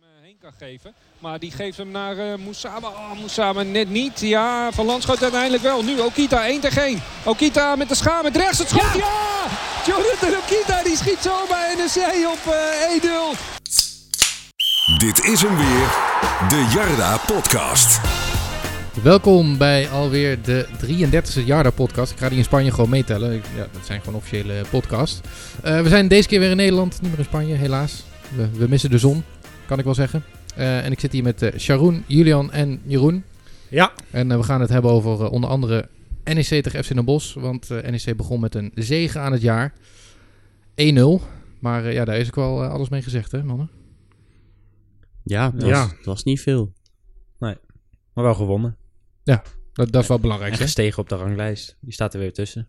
eh, kan geven. Maar die geeft hem naar eh Moussama. Oh, Moussama net niet. Ja, Van Landschot uiteindelijk wel. Nu Okita 1 tegen 1. Okita met de schaar met rechts het schot. Ja! Jonathan Okita die schiet zo bij NEC op eh 1-0. Dit is hem weer, de Jarda Podcast. Welkom bij alweer de 33e Jarda podcast. Ik ga die in Spanje gewoon meetellen. Ik- Ja, dat zijn gewoon officiële podcasts. Eh, we zijn deze keer weer in Nederland, niet meer in Spanje, helaas. We, we missen de zon, kan ik wel zeggen. Eh, en ik zit hier met eh, Sharoen, Julian en Jeroen. Ja. En eh, we gaan het hebben over eh, onder andere NEC tegen FC Den Bosch. Want eh, NEC begon met een zege aan het jaar. 1-0. Maar eh, ja, daar is ook wel eh, alles mee gezegd, hè mannen? Ja, dat Ja. Was, het was niet veel. Maar wel gewonnen. Dat, dat is wel En belangrijk, hè? gestegen op de ranglijst. Die staat er weer tussen.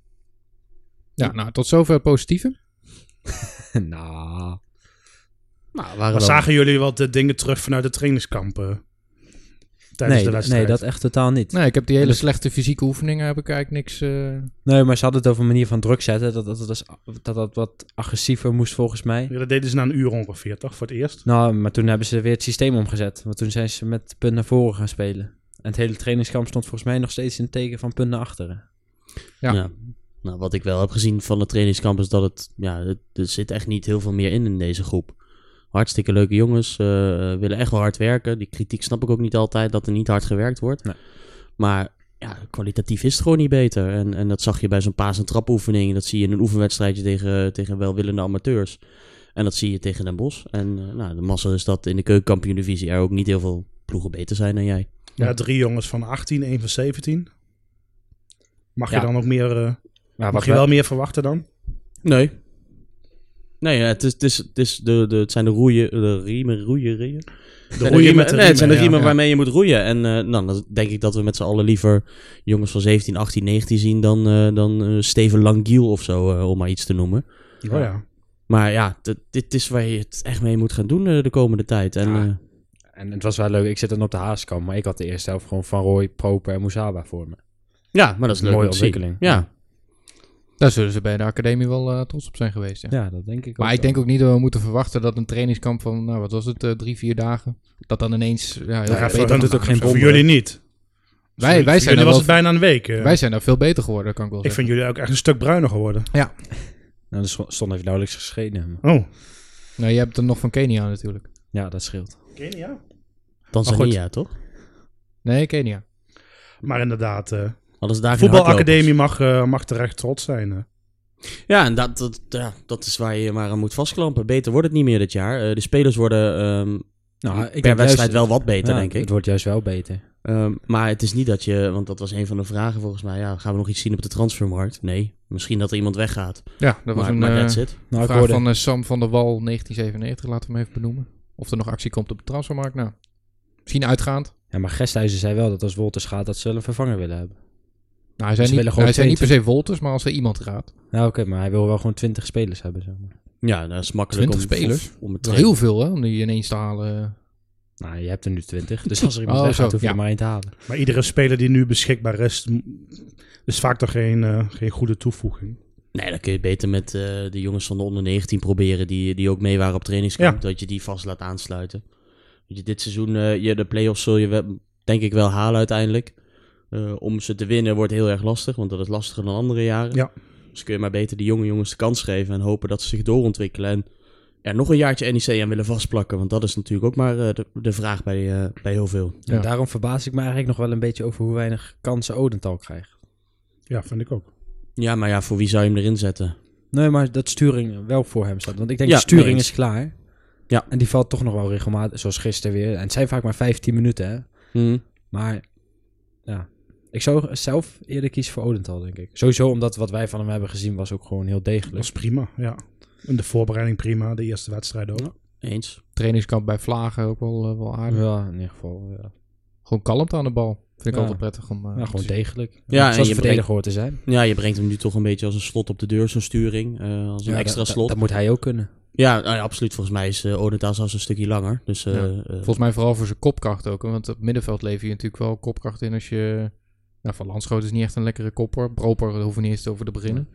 Ja, nou, tot zover het positieve. nou. Nou, waren Maar wel- zagen jullie wat eh, dingen terug vanuit de trainingskampen? Tijdens nee, de d- wedstrijd. nee, dat echt totaal niet. Nee, ik heb die hele slechte fysieke oefeningen, heb ik eigenlijk niks... eh, Nee, maar ze hadden het over een manier van druk zetten. Dat dat, dat, is- dat, dat wat agressiever moest volgens mij. Ja, dat deden ze na een uur ongeveer, toch? Voor het eerst. Nou, maar toen hebben ze weer het systeem omgezet. Want toen zijn ze met punt naar voren gaan spelen. En het hele trainingskamp stond volgens mij nog steeds in het teken van punt naar achteren. Ja. Ja. Nou, wat ik wel heb gezien van de trainingskamp is dat het, ja, het- er zit echt niet heel veel meer in in deze groep. Hartstikke leuke jongens, eh, willen echt wel hard werken. Die kritiek snap ik ook niet altijd, dat er niet hard gewerkt wordt. Nee. Maar ja, kwalitatief is het gewoon niet beter. En, en dat zag je bij zo'n paas- en trapoefening. Dat zie je in een oefenwedstrijdje tegen, tegen welwillende amateurs. En dat zie je tegen Den Bosch. En eh, nou, de massa is dat in de keukenkampioen-divisie er ook niet heel veel ploegen beter zijn dan jij. Ja, Ja. drie jongens van 18, één van 17. Mag Ja. je dan ook meer, eh, Maar mag je wel meer verwachten dan? Nee. Nee, ja, het, is, het, is, het, is de, de, het zijn de roeien, de riemen, roeien, riemen. De roeien met de nee, het zijn de riemen, riemen ja. waarmee je moet roeien. En eh, nou, dan denk ik dat we met z'n allen liever jongens van 17, 18, 19 zien dan, eh, dan eh, Steven Langiel of zo, eh, om maar iets te noemen. Ja. Oh ja. Maar ja, dit, dit is waar je het echt mee moet gaan doen eh, de komende tijd. En, Ja. eh, En het was wel leuk. Ik zit dan op de haaskamp. Maar ik had de eerste helft gewoon Van Roy, Proper en Moesaba voor me. ja maar dat is leuk Mooie om te zien. ontwikkeling. Ja. Daar zullen ze bij de academie wel eh, trots op zijn geweest. Ja. Ja, dat denk ik maar ook ik wel. denk ook niet dat we moeten verwachten dat een trainingskamp van, nou wat was het, eh, drie, vier dagen, dat dan ineens. Ja, heel Ja, veel voor, beter hun- gaat. ook geen voor bom, jullie niet. Wij- Voor- wij voor zijn jullie er was wel- het bijna een week. eh. Wij zijn daar veel beter geworden, kan ik wel ik zeggen. vind jullie ook echt een stuk bruiner geworden. Nou, er stond- stond even nauwelijks geschenen. maar- Oh. Nou, je hebt er nog van Kenia natuurlijk. Ja, dat scheelt. Ja. Tanzania, toch? Nee, Kenia. Maar inderdaad, eh Alles daar geen voetbalacademie mag, eh, mag terecht trots zijn. eh. Ja, en dat, dat, ja, dat is waar je maar aan moet vastklampen. Beter wordt het niet meer dit jaar. Eh, de spelers worden ehm, Nou, ik per heb wedstrijd juist- wel wat beter, Ja, denk ik. Het wordt juist wel beter. Ehm, maar het is niet dat je, want dat was een van de vragen volgens mij. Ja, gaan we nog iets zien op de transfermarkt? Nee, misschien dat er iemand weggaat. Ja, dat was Maar, een maar eh, that's it. Nou, ik vraag hoorde, van eh, Sam van der Wal, 1997, laten we hem even benoemen. Of er nog actie komt op de transfermarkt. Nou, misschien uitgaand. ja, maar Gesthuizen zei wel dat als Wolters gaat, dat ze wel een vervanger willen hebben. Nou, hij zei, Ze niet, willen gewoon hij zei niet per se Wolters, maar als er iemand gaat. Nou, oké, maar hij wil wel gewoon 20 spelers hebben, zeg maar. Ja, dat is makkelijk. 20 om, spelers? Om het Dat is heel veel, hè, om die ineens te halen. Nou, je hebt er nu 20, dus als er iemand Oh, weggaat, zo, hoef je ja. er maar één te halen. Maar iedere speler die nu beschikbaar is, m- is vaak toch geen, eh, geen goede toevoeging. Nee, dan kun je beter met eh, de jongens van de onder 19 proberen. Die, die ook mee waren op trainingskamp. Dat je die vast laat aansluiten. Weet je, dit seizoen, eh, je, de play-offs zul je wel- denk ik wel halen uiteindelijk. Eh, om ze te winnen wordt heel erg lastig. Want dat is lastiger dan andere jaren. Ja. Dus kun je maar beter die jonge jongens de kans geven. En hopen dat ze zich doorontwikkelen. En er nog een jaartje NEC aan willen vastplakken. Want dat is natuurlijk ook maar eh, de, de vraag bij, eh, bij heel veel. Ja. En daarom verbaas ik me eigenlijk nog wel een beetje over hoe weinig kansen Odental krijgt. Ja, vind ik ook. Ja, maar ja, voor wie zou je hem erin zetten? Nee, maar dat Sturing wel voor hem staat. Want ik denk, Ja, Sturing nee, is klaar. Ja. En die valt toch nog wel regelmatig, zoals gisteren weer. En het zijn vaak maar 15 minuten, hè. Hm. Maar ja, ik zou zelf eerder kiezen voor Odental, denk ik. Sowieso omdat wat wij van hem hebben gezien was ook gewoon heel Dat degelijk. is prima, ja. En de voorbereiding prima, de eerste wedstrijd ook. Eens. Trainingskamp bij Vlagen ook wel, eh, wel aardig. Ja, in ieder geval. Ja, Gewoon kalmte aan de bal. Vind ik Ja. altijd prettig om. eh, Ja, te gewoon zien. degelijk. Ja, en Zoals je de verdediger hoort te zijn. Ja, je brengt hem nu toch een beetje als een slot op de deur, zo'n sturing. eh, als een Ja, extra dat- slot. Dat, dat moet hij ook kunnen. Ja, nou ja, absoluut. Volgens mij is eh Odendaal zelfs een stukje langer. Dus eh, Ja. eh, Volgens mij vooral voor zijn kopkracht ook. hè, Want op middenveld lever je natuurlijk wel kopkracht in als je... Nou, van Landschoot is niet echt een lekkere kopper. Broper daar hoeven we niet eens over te beginnen.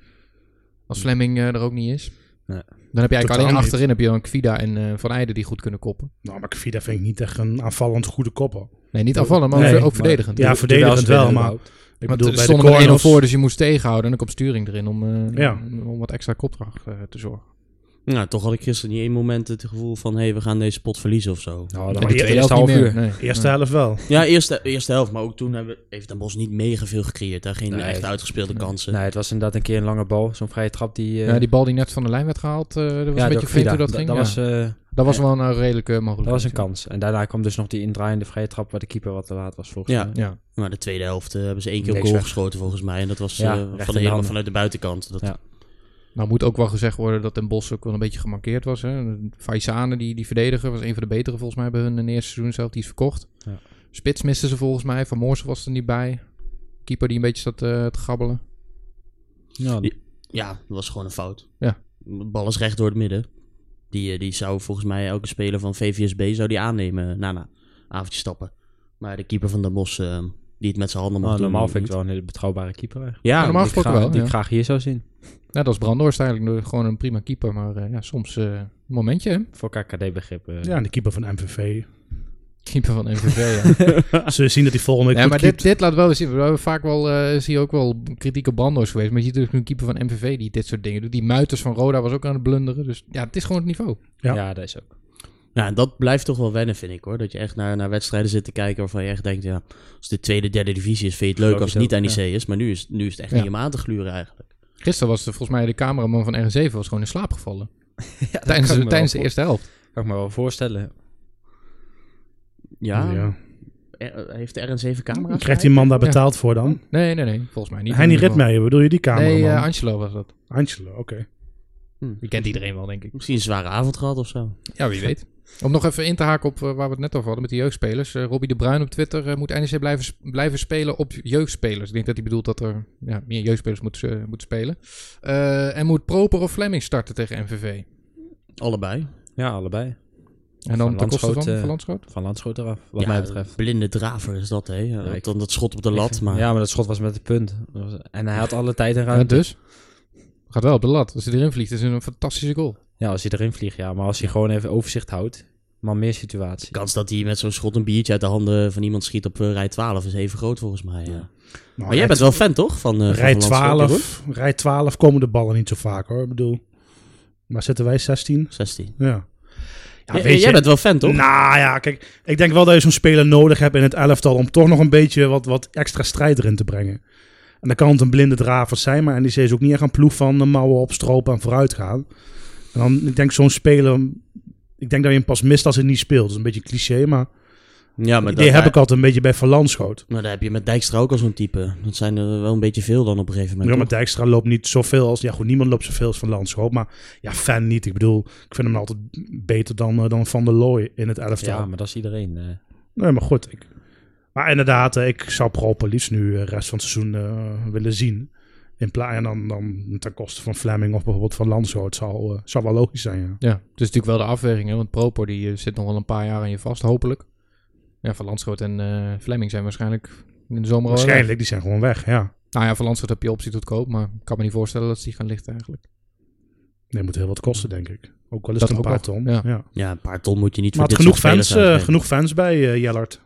Als Flemming eh, er ook niet is. Nee. Dan heb je eigenlijk Totaal alleen niet. achterin heb je dan Kvida en eh, Van Eijden die goed kunnen koppen. Nou, maar Kvida vind ik niet echt een aanvallend goede kopper. Nee, niet aanvallen, maar Nee, ook, ook maar- verdedigend. Ja, verdedigend wel, maar ik Want bedoel, er bij de stonden er 1-0 corners... voor, dus je moest tegenhouden. En dan komt sturing erin om, eh, Ja. om wat extra kopdracht eh, te zorgen. Nou, toch had ik gisteren niet één moment het gevoel van... hé, hey, we gaan deze pot verliezen of zo. Nou, En dan de maar e- tweede eerste, helft niet half meer, uur. nee. Eerste helft wel. Ja, eerste, eerste helft. Maar ook toen hebben, heeft Den Bosch niet mega veel gecreëerd. Daar geen Nee. echt uitgespeelde kansen. Nee, het was inderdaad een keer een lange bal. Zo'n vrije trap die... eh, Ja, die bal die net van de lijn werd gehaald, eh, dat was een ja, door beetje vreemd hoe Vida. dat ging. Dat, ja. was, eh, dat was wel een eh, redelijke mogelijkheid. dat was een ja. kans. En daarna kwam dus nog die indraaiende vrije trap waar de keeper wat te laat was volgens Ja. mij. Ja. Maar de tweede helft eh, hebben ze één keer op Niks goal weg. geschoten volgens mij. En dat was Ja, eh, recht in de van de helemaal handen. vanuit de buitenkant. Dat, Ja. Nou moet ook wel gezegd worden dat Den Bosch ook wel een beetje gemarkeerd was. Hè. Faisane, die, die verdediger, was een van de betere volgens mij bij hun in het eerste seizoen zelf. Die is verkocht. Ja. Spits misten ze volgens mij. Van Moorsen was er niet bij. Keeper die een beetje zat eh, te gabbelen. Ja, Ja. Ja, dat was gewoon een fout. Ja. De bal is recht door het midden. Die, eh, die zou volgens mij elke speler van VVSB zou die aannemen na na avondje stappen. Maar de keeper van Den Bosch, eh, die het met zijn handen mag Nou, doen. normaal vind ik niet. wel een hele betrouwbare keeper eigenlijk. Ja, normaal Die ik gesproken graag- wel, Die ja. ik graag hier zou zien. Net als Brandhorst eigenlijk. eh, Gewoon een prima keeper. Maar eh, ja, soms eh, een momentje hè. Voor KKD-begrippen. Ja, en de keeper van MVV. Keeper van MVV. ja. Ze zien dat hij volgende week Ja, goed maar keept. dit, dit laat wel eens zien. We hebben vaak wel, eh, zie je ook wel kritiek op Brando's geweest. Maar je ziet dus nu een keeper van MVV die dit soort dingen doet. Die Muiters van Roda was ook aan het blunderen. Dus ja, het is gewoon het niveau. ja. Ja. dat is ook. Ja, en dat blijft toch wel wennen, vind ik hoor. Dat je echt naar, naar wedstrijden zit te kijken waarvan je echt denkt, ja, als de tweede, derde divisie is, vind je het leuk Geloof als je het niet het aan ook, IC is. Maar nu is, nu is het echt Ja. niet om aan te gluren eigenlijk. Gisteren was de, volgens mij de cameraman van RN7 was gewoon in slaap gevallen. kan tijdens ik me de, wel tijdens de voor- eerste helft. Kan ik me wel voorstellen. Ja, Er- heeft de RN7 camera's? Krijgt die man daar betaald voor dan? Nee, nee, nee. Volgens mij niet. Heini In ieder geval. Ritmeijer, bedoel je die cameraman? Nee, Nee, eh, Angelo was dat. Angelo, oké. Nou, Die kent iedereen wel, denk ik. Misschien een zware avond gehad of zo. Ja, wie weet. Om nog even in te haken op eh, waar we het net over hadden met de jeugdspelers. Eh Robbie de Bruin op Twitter eh, moet NEC blijven, sp- blijven spelen op jeugdspelers. Ik denk dat hij bedoelt dat er ja, meer jeugdspelers moeten eh, moeten spelen. Eh, en moet Proper of Fleming starten tegen MVV. Allebei. Ja, allebei. En dan Van ten koste van, Landschot, eh, van Landschot? Van Landschoot eraf, wat Ja, mij betreft. Blinde draver is dat, hè? Ja, ik- dan dat schot op de lat, maar... Ja, maar dat schot was met het punt. Dat was- En hij had alle tijd en Ja, ruimte. dus? Gaat wel op de lat. Als hij erin vliegt, is het een fantastische goal. Ja, als hij erin vliegt, ja. Maar als hij gewoon even overzicht houdt, maar meer situatie. De kans dat hij met zo'n schot een biertje uit de handen van iemand schiet op eh, rij 12 is even groot volgens mij. Ja. Nou, Maar jij bent wel fan toch? Van, eh, van Rij Van Landschot, hoor? 12, rij 12 komen de ballen niet zo vaak hoor. Ik bedoel, maar zitten wij 16? 16. Ja. Ja, jij bent wel fan toch? Nou ja, kijk, ik denk wel dat je zo'n speler nodig hebt in het elftal om toch nog een beetje wat, wat extra strijd erin te brengen. En dan kan het een blinde draver zijn, maar NEC is ook niet echt een ploeg van de mouwen op, stropen en vooruit gaan. En dan, ik denk zo'n speler, ik denk dat je hem pas mist als hij niet speelt. Dat is een beetje cliché, maar, ja, maar die dat- heb ik altijd een beetje bij Van Landschoot. Maar daar heb je met Dijkstra ook al zo'n type. Dat zijn er wel een beetje veel dan op een gegeven Ja, moment. maar toch? Dijkstra loopt niet zoveel als... Ja, goed, niemand loopt zoveel als Van Landschoot. Maar ja, fan niet. Ik bedoel, ik vind hem altijd beter dan, eh, dan Van der Looy in het elftal. Ja, maar dat is iedereen. eh. Nee, maar goed. Ik, maar inderdaad, eh, ik zou Proper liefst nu de rest van het seizoen eh, willen zien. In plaats en dan, dan ten koste van Fleming of bijvoorbeeld van Landschoot. Zou, eh, zou wel logisch zijn, ja. Ja, het is natuurlijk wel de afweging. Hè? Want Proper die eh, zit nog wel een paar jaar aan je vast, hopelijk. Ja, Van Landschot en eh Fleming zijn waarschijnlijk in de zomer al weg. Waarschijnlijk, die zijn gewoon weg, ja. Nou ja, Van Landschot heb je optie tot koop. Maar ik kan me niet voorstellen dat ze die gaan lichten eigenlijk. Nee, moet heel wat kosten, denk ik. Ook wel eens Dat een ook paar wel, ton. ja. Ja. Ja, een paar ton moet je niet Maar had voor dit genoeg soort fans, spelers eh, uitgeven. genoeg fans bij eh, Jellard.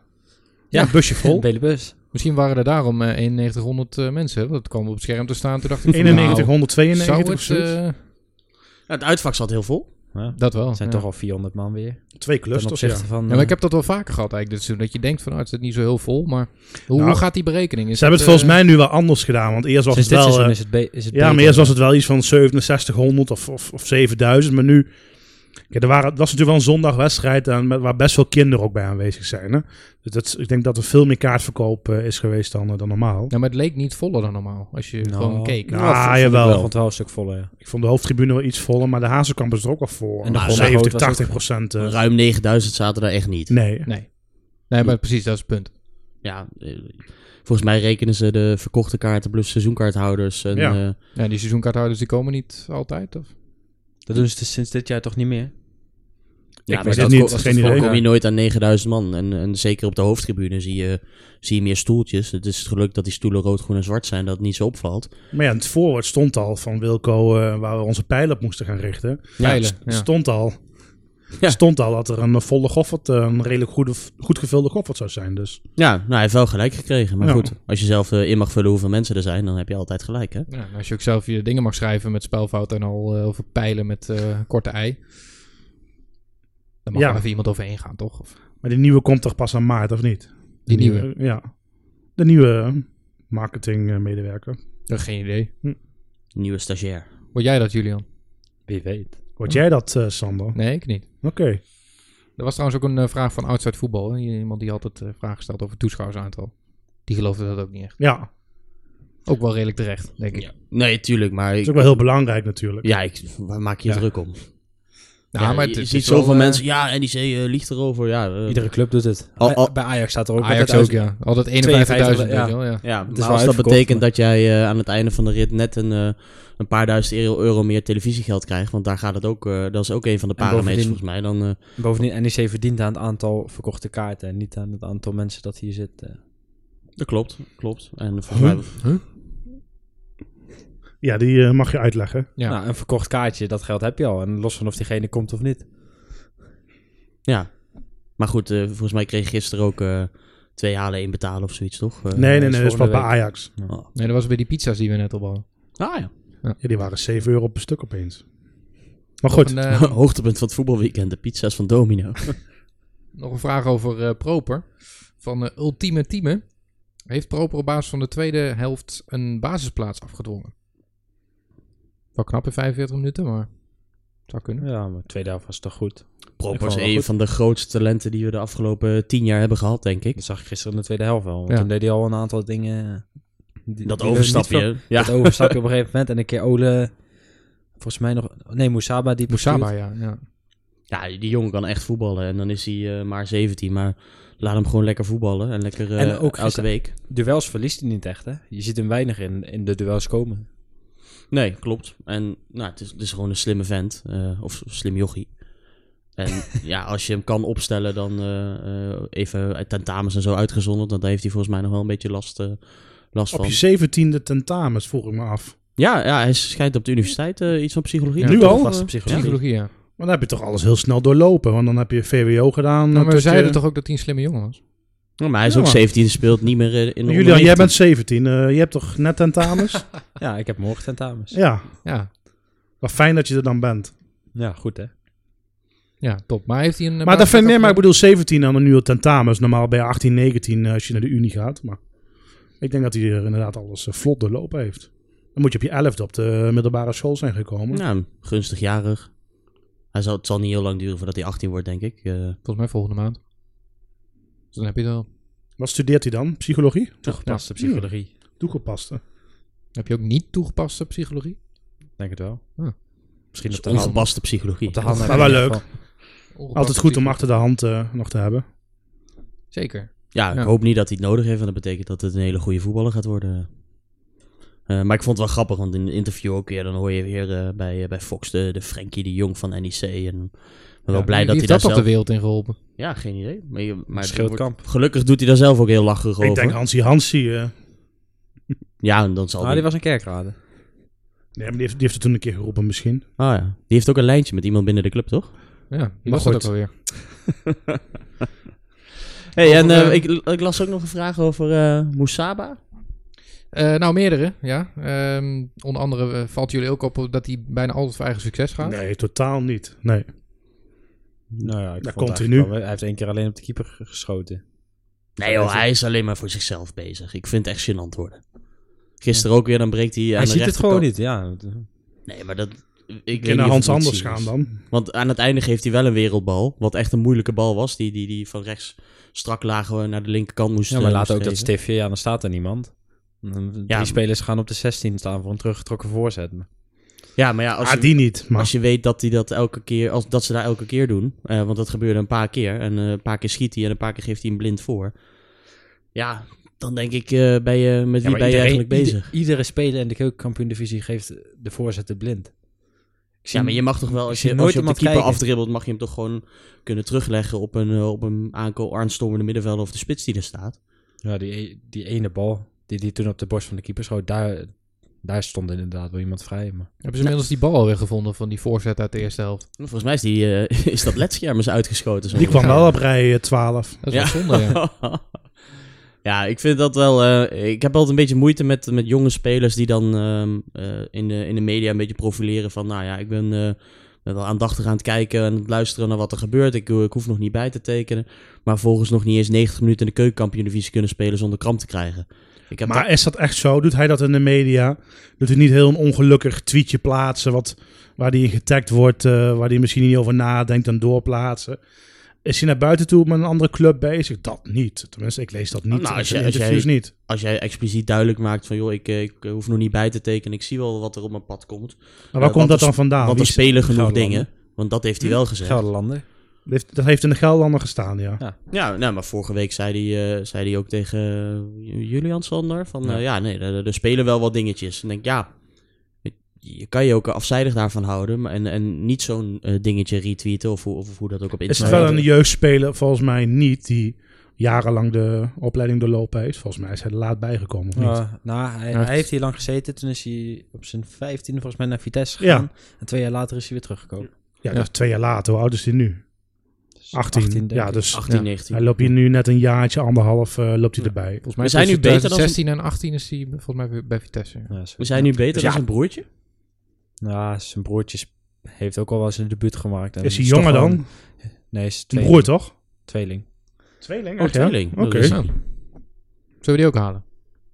Ja. Ja, busje vol. Bij de bus. Misschien waren er daarom eh, 9100 eh, mensen. hè, Want dat kwam op het scherm te staan. Toen dacht ik, van, 91, nou, 192 zou of het, zoiets. eh, Ja, het uitvak zat heel vol. Ja. dat wel. Het zijn ja. toch al 400 man weer. Twee Ten clusters, ja. opzichte van... Ja, maar ik eh, heb dat wel vaker gehad eigenlijk dit seizoen. Dat je denkt van, nou, het zit niet zo heel vol. Maar hoe, Nou, hoe gaat die berekening? Is Ze hebben het eh, volgens mij nu wel anders gedaan. Want eerst was Sinds het Dus dit wel... eh, seizoen is het, be- is het Ja, maar beter. eerst was het wel iets van 6700 of, of, of 7000. Maar nu... Kijk, er waren, het was natuurlijk wel een zondagwedstrijd en met, waar best veel kinderen ook bij aanwezig zijn. Hè? Dus dat, is- ik denk dat er veel meer kaartverkoop eh, is geweest dan, eh, dan normaal. Ja, maar het leek niet voller dan normaal. Als je Nou, gewoon keek. nou, Ja, vond- Ah, vond ik jawel. wel. Ik vond het wel een stuk voller, ja. Ik vond de hoofdtribune wel iets voller, maar de Hazenkamp is er ook wel voor. En de Nou, Golden 70, Goat was 80 ook- procent. eh, Ruim 9000 zaten daar echt niet. nee. Nee. Nee, maar precies, dat is het punt. Ja, eh, volgens mij rekenen ze de verkochte kaarten plus seizoenkaarthouders. En, Ja. eh, Ja, die seizoenkaarthouders die komen niet altijd, of? Dat doen ze dus sinds dit jaar toch niet meer? ik maar weet dat het ko- niet, dat geen idee. Dan kom je nooit aan 9000 man. En, en zeker op de hoofdtribune zie je, zie je meer stoeltjes. Het is het geluk dat die stoelen rood, groen en zwart zijn, dat het niet zo opvalt. Maar ja, in het voorwoord stond al van Wilco eh, waar we onze pijlen op moesten gaan richten. Pijlen, St- ja. Stond al. Ja. Stond al dat er een eh, volle goffert, eh, een redelijk goede, goed gevulde goffert zou zijn. Dus Ja, nou, hij heeft wel gelijk gekregen. Maar Ja. goed, als je zelf eh, in mag vullen hoeveel mensen er zijn, dan heb je altijd gelijk, hè? Ja, en als je ook zelf je dingen mag schrijven met spelfouten en al eh, over pijlen met eh, korte ei. Dan mag Ja. er even iemand overheen gaan, toch? Of Maar die nieuwe komt toch pas aan maart, of niet? die De nieuwe. Ja. De nieuwe eh, marketingmedewerker. Ja, geen idee. Nieuwe stagiair. Word jij dat, Julian? Wie weet. Word jij dat, eh, Sander? Nee, ik niet. Oké. Er was trouwens ook een eh, vraag van Outside Voetbal. hè. Iemand die had het eh, vraag gesteld over toeschouwersaantal. Die geloofde dat ook niet echt. Ja, dat Ook wel redelijk terecht, denk ik. Nee, tuurlijk, maar... is Ik, ook wel heel belangrijk natuurlijk. ja, ik, waar maak je je Ja. druk om? Nou, Ja, maar je het is ziet wel, zoveel eh, mensen... Ja, NEC eh liegt erover, ja. eh, Iedere club doet het. Al- al- bij Ajax staat er ook. Oh, Ajax altijd ook, ja. Altijd 51.000, weet ja. je wel, ja. Ja, maar is wel als dat uitverkocht, betekent maar- dat jij eh, aan het einde van de rit net een, eh, een paar duizend euro, euro meer televisiegeld krijgt, want daar gaat het ook, eh, dat is ook een van de En bovendien- parameters volgens mij, dan... eh, Bovendien, NEC verdient aan het aantal verkochte kaarten en niet aan het aantal mensen dat hier zit. eh. dat klopt, klopt. En volgens mij... Ja, die eh, mag je uitleggen. Ja. Nou, een verkocht kaartje, dat geld heb je al. En los van of diegene komt of niet. Ja. Maar goed, eh, volgens mij kreeg je gisteren ook eh, twee halen, één betalen of zoiets, toch? Eh, nee, nee, is nee, dat is pas volgende bij week. Ajax. oh. Nee, dat was bij die pizza's die we net al hadden. Ah ja. Ja, die waren 7 euro per stuk opeens. Maar goed, En, eh, Hoogtepunt van het voetbalweekend, de pizza's van Domino. Nog een vraag over eh, Proper. Van eh, Ultieme Team. Heeft Proper op basis van de tweede helft een basisplaats afgedwongen? Wel knap in 45 minuten, maar zou kunnen. Ja, maar tweede helft was toch goed. Ik Proper vond is het wel een goed. van de grootste talenten die we de afgelopen tien jaar hebben gehad, denk ik. Dat zag ik gisteren in de tweede helft wel. Want Ja. toen deed hij al een aantal dingen... eh, die- die Dat we overstapje. niet hè? van- Ja. Dat overstapje op een gegeven moment. En een keer Ole... Volgens mij nog... Nee, Moesaba die Moesaba, ja. ja. ja, die jongen kan echt voetballen. En dan is hij eh, maar 17. Maar laat hem gewoon lekker voetballen. En lekker eh, En ook elke gisteren- week. Duels verliest hij niet echt, hè? Je ziet hem weinig in, in de duels komen. Nee, klopt. En nou, het, is, het is gewoon een slimme vent. eh, of slim jochie. En ja, als je hem kan opstellen, dan eh, eh, even uit tentamens en zo uitgezonderd. Want daar heeft hij volgens mij nog wel een beetje last, eh, last op van. je 17e tentamens vroeg ik me af. Ja, ja, hij schijnt op de universiteit eh, iets van psychologie. Ja, te nu doen, al? of, Vaste eh, psychologie. Psychologie, ja. Maar dan heb je toch alles heel snel doorlopen. Want dan heb je VWO gedaan. Nou, maar we tot zeiden je- toch ook dat hij een slimme jongen was? Ja, maar hij is Ja, ook maar- 17 en speelt niet meer eh, in de Julian, jij 19. bent 17. eh, je hebt toch net tentamens? Ja, ik heb morgen tentamens. Ja, ja, Ja, maar fijn dat je er dan bent. goed, hè? ja top. Maar heeft hij een... eh, Maar, dat vind, nee, maar ik afgedwongen? bedoel 17 en dan nu al tentamens. Normaal bij 18, 19 eh, als je naar de Unie gaat. Maar ik denk dat hij er inderdaad alles eh, vlot doorlopen heeft. Dan moet je op je 11e op de eh, middelbare school zijn gekomen. Nou, gunstig jarig. Hij zal, het zal niet heel lang duren voordat hij 18 wordt, denk ik. Eh, Volgens mij volgende maand. Dus dan heb je het al. Wat studeert hij dan? Psychologie? Toegepaste psychologie. Hmm. Toegepaste. Heb je ook niet toegepaste psychologie? Denk het wel. Ja. Misschien op de hand. ongepaste psychologie. Op de hand Maar heb je wel in ieder leuk. geval- Altijd goed om achter de hand eh, nog te hebben. Zeker. Ja, ik Ja. hoop niet dat hij het nodig heeft, want dat betekent dat het een hele goede voetballer gaat worden. Eh, maar ik vond het wel grappig, want in een interview ook weer, dan hoor je weer eh, bij, eh, bij Fox de, de Frenkie de Jong van NEC. En ik ben wel Ja, blij wie dat hij heeft daar dat op de zelf... wereld in geholpen? Ja, geen idee. Maar, je- maar het wordt- Schildkamp. Gelukkig doet hij daar zelf ook heel lacherig over. Ik denk Hansie Hansie. eh, Ja, en dan zal Ah, hij... die was een kerkrade. nee, maar die, heeft, die heeft het toen een keer geroepen misschien. Ah ja, die heeft ook een lijntje met iemand binnen de club, toch? Ja, die Maar was dat goed. ook alweer. hey, en Over, eh, eh, ik, ik las ook nog een vraag over eh Moussaba. Eh, nou, meerdere, ja. Ehm, onder andere eh, valt jullie ook op dat hij bijna altijd voor eigen succes gaat. Nee, totaal niet. Nee. Nou ja, ik Daar vond komt het hij eigenlijk nu. wel- Hij heeft één keer alleen op de keeper ge- geschoten. Nee joh, hij is alleen maar voor zichzelf bezig. Ik vind het echt gênant worden. Gisteren ook weer, dan breekt hij aan hij de ziet het rechterkant- gewoon niet, ja. Nee, maar dat... Ik Ik weet naar niet of Hans het Anders zien gaan is. dan. Want aan het einde geeft hij wel een wereldbal. Wat echt een moeilijke bal was. Die, die, die van rechts strak laag eh, naar de linkerkant moest Ja, maar eh, laat ook moest dat geven. stiftje, ja, dan staat er niemand. Die Ja. spelers gaan op de 16 staan voor een teruggetrokken voorzet. Ja, maar ja, als, Ah, je, die niet. Maar als je weet dat, die dat, elke keer, als, dat ze daar elke keer doen. eh, want dat gebeurde een paar keer. En eh, een paar keer schiet hij en een paar keer geeft hij hem blind voor. Ja, dan denk ik, eh, ben je, met wie ben je eigenlijk bezig? iedere speler in de keukenkampioen-divisie geeft de voorzetten blind. Ik zie Ja, maar je mag toch wel, als zie je, nooit als je op de iemand keeper kijken. afdribbelt, mag je hem toch gewoon kunnen terugleggen op een, eh, op een aankoop aanstormende middenvelder of de spits die er staat. Ja, die, e- die ene bal die die toen op de borst van de keeper schoot, daar, daar stond inderdaad wel iemand vrij. Maar Hebben ze inmiddels die bal alweer gevonden van die voorzet uit de eerste helft? Volgens mij is, die, eh, is dat ledscherm eens uitgeschoten. zo. Die kwam wel op rij eh, 12. Dat is wel zonde, ja. Ja, ik vind dat wel. eh, ik heb altijd een beetje moeite met, met jonge spelers die dan ehm, eh, in, de, in de media een beetje profileren van. Nou ja, ik ben, eh, ben wel aandachtig aan het kijken en het luisteren naar wat er gebeurt. Ik, eh, ik hoef nog niet bij te tekenen. Maar volgens nog niet eens 90 minuten in de keukenkampioen-divisie kunnen spelen zonder kramp te krijgen. Ik heb Maar is dat echt zo? Doet hij dat in de media? Doet hij niet heel een ongelukkig tweetje plaatsen wat, waar hij in getagd wordt, eh, waar hij misschien niet over nadenkt en doorplaatsen? Is hij naar buiten toe met een andere club bezig? Dat niet. Tenminste, ik lees dat niet. Nou, als als jij- je, als jij- interviews niet. als jij expliciet duidelijk maakt van joh, ik, eh, ik hoef nog niet bij te tekenen. Ik zie wel wat er op mijn pad komt. Maar eh, waar komt want dat er dan vandaan? want Nou, Wie er is- spelen genoeg Gelderlanden. dingen. Want dat Hm? heeft hij wel gezegd. Gelderlander. heeft- dat heeft in de Gelderlander gestaan, ja. Ja. Ja, nou, maar vorige week zei hij, eh, zei hij ook tegen eh, Julian Sander van... eh, Ja, nee, er, er spelen wel wat dingetjes. En ik denk, ja, het- je kan je ook afzijdig daarvan houden. Maar en, en niet zo'n eh, dingetje retweeten of, hoe- of hoe dat ook op Is het Instagram... wel een jeugdspeler? Volgens mij niet, die jarenlang de opleiding doorlopen heeft. Volgens mij is hij er laat bijgekomen, of niet? Ah, Eh, nou, hij, Echt? hij heeft hier lang gezeten. Toen is hij op zijn 15 volgens mij naar Vitesse gegaan. En twee jaar later is hij weer teruggekomen. ja, dat is twee jaar later. Hoe oud is hij nu? 18. 18, denk ja, ik. dus 18, Ja. 19. hij loopt hier nu net een jaartje, anderhalf, eh, loopt hij erbij. Volgens We mij zijn nu beter dan 16 en 18 is hij volgens mij weer bij Vitesse. Ja, zo. We zijn nu beter Dus dan ja. zijn broertje. Nou, zijn broertje is- heeft ook al wel zijn debuut gemaakt. En Is hij Ehm, toch jonger wel dan? een- Nee, is Een tweeling. broer, toch? Tweeling. Tweeling, Oh, tweeling. Oké. Dat is- Nou. Zullen we die ook halen?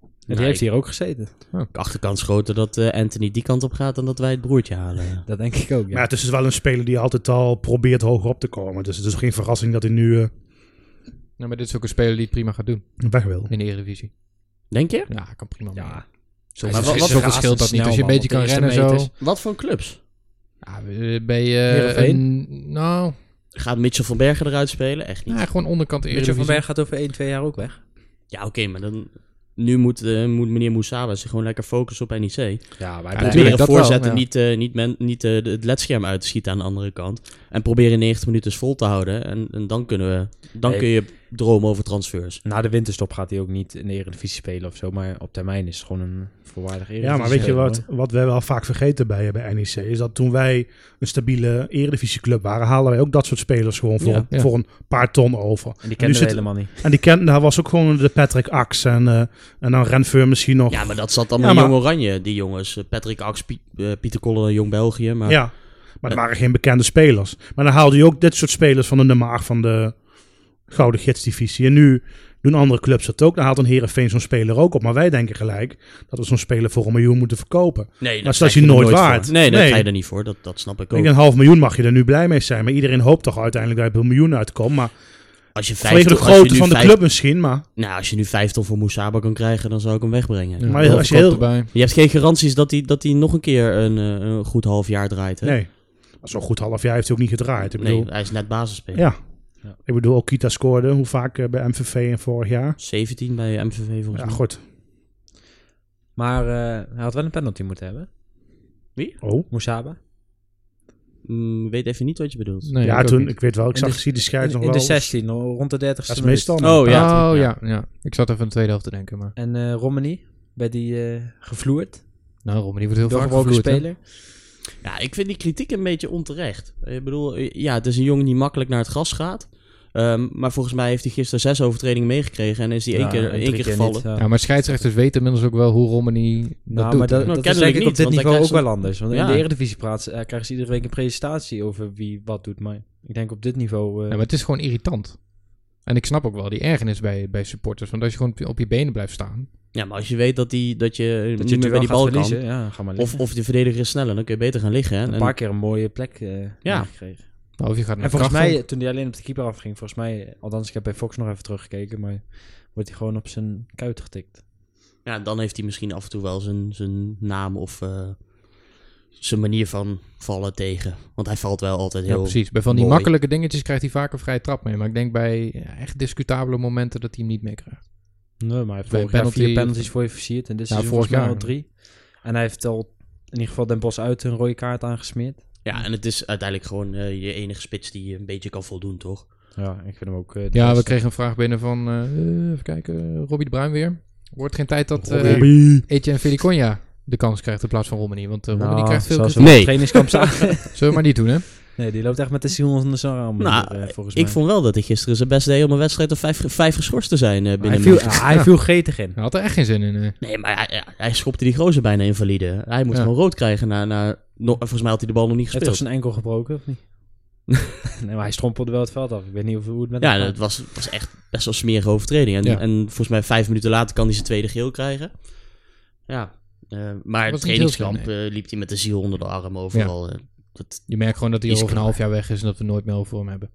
En die Nou, heeft ik- hier ook gezeten. De achterkant groter dat eh, Anthony die kant op gaat dan dat wij het broertje halen. Dat denk ik ook, ja. Maar het is dus wel een speler die altijd al probeert hoger op te komen. Dus het is geen verrassing dat hij nu eh, Nou, maar dit is ook een speler die het prima gaat doen weg wil. in de Eredivisie. Denk je? Ja, hij kan prima mee. ja. Zo, maar maar wat- wat, wat- zo verschilt dat niet. Als je een beetje kan rennen zo. Wat voor clubs? Ja, eh, bij eh, Heerenveen? een- nou, Gaat Mitchell van Bergen eruit spelen? Echt niet. nou, gewoon onderkant de Mitchell van Eredivisie. Berg gaat over 1, 2 jaar ook weg. Ja, oké, maar dan... Nu moet, eh, moet meneer Moussaba zich gewoon lekker focussen op NEC. Ja, maar Ja, hij natuurlijk. probeert- Proberen dat wel, voorzetten, ja. niet, eh, niet, men, niet eh, de- het ledscherm uit te schieten aan de andere kant. En proberen 90 minuten vol te houden. En, en dan, kunnen we, dan Nee. kun je dromen over transfers. Na de winterstop gaat hij ook niet in de Eredivisie spelen of zo. Maar op termijn is het gewoon een volwaardig Eredivisie. Ja, maar weet je wat, wat we wel vaak vergeten bij, bij NEC? Is dat toen wij een stabiele eredivisieclub waren, halen wij ook dat soort spelers gewoon voor, Ja, ja. voor een paar ton over. En die nu kennen we zit- helemaal niet. En die kent, daar was ook gewoon de Patrick Ax en, eh, en dan Renfeur misschien nog. Ja, maar dat zat allemaal Ja, in maar- Jong Oranje, die jongens. Patrick Ax, Piet- eh, Pieter Koller, Jong België. Maar Ja, maar het waren geen bekende spelers. Maar dan haalde je ook dit soort spelers van de nummer 8 van de Gouden Gidsdivisie. En nu doen andere clubs dat ook. Dan haalt een Herenveen zo'n speler ook op. Maar wij denken gelijk dat we zo'n speler voor een miljoen moeten verkopen. nee, dat krijg is je er nooit voor. waard. Nee, dat Nee. ga je er niet voor. Dat, dat snap ik Ik denk, ook. een half miljoen mag je er nu blij mee zijn. Maar iedereen hoopt toch uiteindelijk dat je op een miljoen uitkomt. Maar Als je vanwege de 50, als je grootte nu van de vijf- club misschien. Maar Nou, als je nu 50 voor Moussaba kan krijgen, dan zou ik hem wegbrengen. Ja, Maar als je bovenkant heel- erbij. Je hebt geen garanties dat hij, dat hij nog een keer een, eh, een goed half jaar draait. Hè? nee, zo'n goed half jaar heeft hij ook niet gedraaid. Ik bedoel, Nee, hij is net basisspeler. ja. Ik bedoel, ook Kita scoorde. Hoe vaak eh, bij MVV en vorig jaar? 17 bij MVV volgens Ja, mij. goed. Maar eh, hij had wel een penalty moeten hebben. Oh. Moussaba. Mm, weet even niet wat je bedoelt. Nee, ja, ik ook toen, niet. ik weet wel. Ik In zag de- zie de scheids In, nog in wel. de 16, rond de 30ste. Dat is minuut. meestal. Oh ja. oh toen- ja, ja. Ik zat even aan de tweede helft te denken, maar... En eh Romani werd die eh, gevloerd. Nou, Rom, die wordt heel vaak Doorgebroken gevloerd, hè? speler. Ja, ik vind die kritiek een beetje onterecht. Ik bedoel, eh, ja, het is een jongen die makkelijk naar het gras gaat. Ehm, maar volgens mij heeft hij gisteren zes overtredingen meegekregen en is hij één Ja, keer, en één drie keer gevallen. niet, ja. Ja, maar scheidsrechters weten inmiddels ook wel hoe Romani dat eh, Nou, doet. maar dat, Nou, dat kennelijk is denk ik niet, op dit want hij niveau ook krijgt wel anders. Want Ja. in de Eredivisie praat, eh, krijgen ze iedere week een presentatie over wie wat doet. Maar ik denk op dit niveau... eh, Ja, maar het is gewoon irritant. En ik snap ook wel die ergernis bij, bij supporters. Want als je gewoon op je- op je benen blijft staan... Ja, maar als je weet dat, die, dat je eh, dat niet je meer bij het wel die gaat bal verliezen. kan. Ja, ga maar liggen. Of, of de verdediger is sneller, dan kun je beter gaan liggen. Hè? een En- paar keer een mooie plek eh Ja. gekregen. Nou, of je gaat naar En volgens Kachel. mij, toen hij alleen op de keeper afging, volgens mij, althans ik heb bij Fox nog even teruggekeken, maar wordt hij gewoon op zijn kuit getikt. ja, dan heeft hij misschien af en toe wel zijn, zijn naam of eh, zijn manier van vallen tegen. Want hij valt wel altijd Ja, heel... precies. Bij van die mooi. makkelijke dingetjes krijgt hij vaak een vrije trap mee. Maar ik denk bij ja, echt discutabele momenten dat hij hem niet meer krijgt. Nee, maar hij heeft Bij vorig jaar vier penalty- penalties voor je versierd en dit is Ja, volgens vorig mij al jaar. drie. En hij heeft al in ieder geval Den Bos uit een rode kaart aangesmeerd. Ja, en het is uiteindelijk gewoon eh, je enige spits die je een beetje kan voldoen, toch? Ja, ik vind hem ook... eh, de Ja, we beste. kregen een vraag binnen van, eh, even kijken, eh, Robbie de Bruin weer. Wordt geen tijd dat eh Robbie. Etienne Feliconia de kans krijgt in plaats van Romani. Want eh Nou, Romani krijgt veel zoals kritiek. we op Nee. het trainingskamp zagen. Zullen we maar niet doen, hè? nee, die loopt echt met de ziel onder zijn arm. Nou, eh, volgens Ik mij. vond wel dat hij gisteren zijn best deed om een wedstrijd of vijf, vijf geschorst te zijn eh, binnen Hij een viel, minuut. hij viel gretig in. Hij had er echt geen zin in. eh. Nee, maar hij, ja, hij schopte die gozer bijna invalide. Hij moet Ja. gewoon rood krijgen na... na no- volgens mij had hij de bal nog niet Heeft toch gespeeld. zijn enkel gebroken, of niet? nee, maar hij strompelde wel het veld af. Ik weet niet of, hoe het met Ja, hem dat gaat. was, was echt best wel smerige overtreding. En, Ja. en volgens mij vijf minuten later kan hij zijn tweede geel krijgen. Ja, eh, maar het niet heel trainingskamp slim, eh, liep hij met de ziel onder de arm overal. eh. Dat, Je merkt gewoon dat hij Is al over een klaar. half jaar weg is en dat we nooit meer over hem hebben.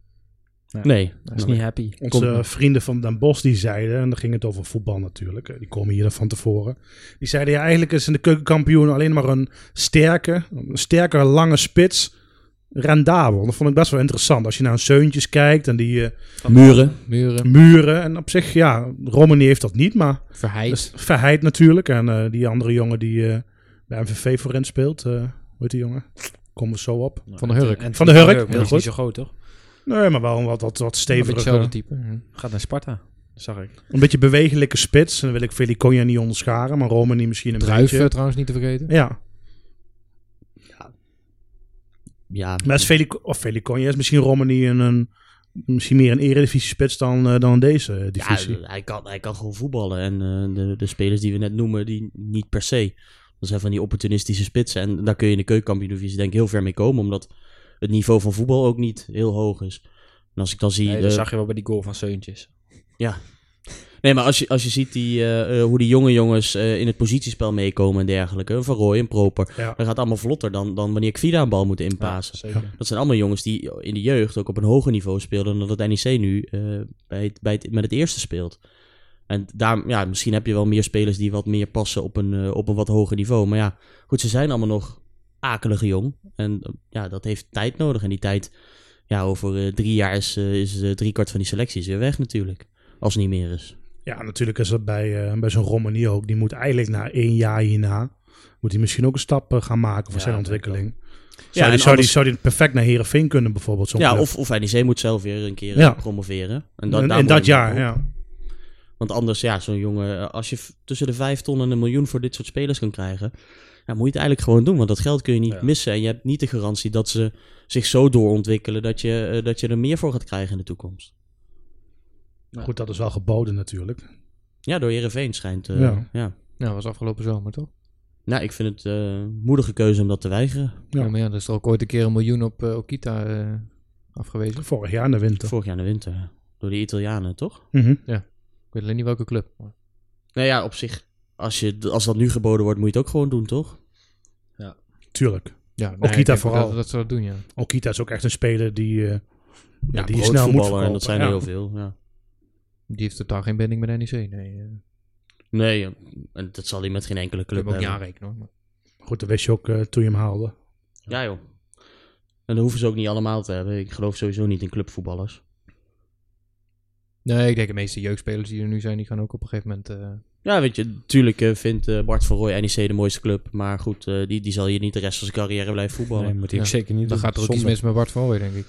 nee, Hij is niet happy. Onze eh, Komt- vrienden van Den Bos die zeiden, en dan ging het over voetbal natuurlijk, eh, die komen hier dan van tevoren. Die zeiden ja, eigenlijk is in de keukenkampioen alleen maar een sterke, een sterke lange spits rendabel. Dat vond ik best wel interessant. Als je naar een Seuntjes kijkt en die eh, muren. Muren, muren. En op zich, ja, Romani heeft dat niet, maar Verheid. dus Verheid natuurlijk. En eh, die andere jongen die eh, bij MVV voorin speelt, eh, hoe heet die jongen? Komen we zo op. Van de Hurk. En Van de Hurk, maar heel die is goed. niet zo groot, toch? Nee, maar wel een wat, wat, wat Een beetje hetzelfde steviger, eh, type. ja. Gaat naar Sparta, zag ik. een beetje bewegelijke spits. En dan wil ik Feliconia niet onderscharen, maar Romani misschien een Druif eh, beetje. trouwens niet te vergeten. Ja, Ja, Maar is Felic of Feliconia is misschien Romani een, een misschien meer een eredivisie spits dan, eh, dan deze eh, ja divisie. hij, kan, hij kan gewoon voetballen. En eh, de, de spelers die we net noemen, die niet per se. Dat zijn van die opportunistische spitsen. En daar kun je in de keukenkampioen-divisie denk ik heel ver mee komen. Omdat het niveau van voetbal ook niet heel hoog is. En als ik dan zie... Nee, eh, dat zag je wel bij die goal van Seuntjes. Nee, maar als je, als je ziet die, eh, eh, hoe die jonge jongens eh, in het positiespel meekomen en dergelijke. Van Roy en Proper. Ja. Dat gaat allemaal vlotter dan, dan wanneer Kvida een bal moet inpassen. Zeker. Dat zijn allemaal jongens die in de jeugd ook op een hoger niveau speelden dan dat NEC nu eh, bij het, bij het, met het eerste speelt. En daar, ja, misschien heb je wel meer spelers die wat meer passen op een, eh, op een wat hoger niveau. Maar ja, goed, ze zijn allemaal nog akelige jong. En eh, ja, dat heeft tijd nodig. En die tijd, ja, over eh, drie jaar is, eh, is eh, driekwart van die selecties weer weg natuurlijk. Als het niet meer is. Ja, natuurlijk is dat bij, eh, bij zo'n Romani ook. Die moet eigenlijk na één jaar hierna, moet hij misschien ook een stap eh, gaan maken voor Ja, zijn denk ik en ontwikkeling. Zou, die, zou, die, anders- zou die perfect naar Herenveen kunnen bijvoorbeeld? zo'n Ja, club? of, of NEC moet zelf weer een keer eh, Ja. promoveren. En in, daar in moet dat je mee jaar, op. ja. Want anders, ja, zo'n jongen, eh, als je f- tussen de vijf ton en een miljoen voor dit soort spelers kan krijgen, ja, moet je het eigenlijk gewoon doen. Want dat geld kun je niet Ja. missen. En je hebt niet de garantie dat ze zich zo doorontwikkelen dat je, eh, dat je er meer voor gaat krijgen in de toekomst. Goed, dat is wel geboden natuurlijk. Ja, door Herenveen schijnt. eh, ja. Ja. Nou, was afgelopen zomer toch? Nou, ik vind het eh, moedige keuze om dat te weigeren. Ja. Ja. maar ja, er is toch ook ooit een keer een miljoen op eh, Okita eh, afgewezen. Vorig jaar in de winter. Vorig jaar in de winter. Door de Italianen, toch? Mhm. Ik weet alleen niet welke club. maar- Nou ja, op zich. Als, je, als dat nu geboden wordt, moet je het ook gewoon doen, toch? Tuurlijk. Ja, nou, ik Okita denk ook vooral. Dat, dat ze dat doen, ja. Okita is ook echt een speler die, eh, ja, die je brood snel moet voetballen, En verkopen. dat zijn ja. er heel veel, ja. Die heeft totaal geen binding met NEC. Nee, eh Nee, ja, en dat zal hij met geen enkele club club ook niet hebben. aanrekenen hoor. maar- Goed, dat wist je ook eh, toen je hem haalde. Ja, joh. En dat hoeven ze ook niet allemaal te hebben. Ik geloof sowieso niet in clubvoetballers. Nee, ik denk de meeste jeugdspelers die er nu zijn, die gaan ook op een gegeven moment... eh, Ja, weet je, tuurlijk eh, vindt eh, Bart van Rooij NEC de mooiste club. Maar goed, eh, die, die zal je niet de rest van zijn carrière blijven voetballen. Nee, moet hij ook Ja. zeker niet dan doen. gaat er ook iets Zonde. mis met Bart van Rooij, denk ik.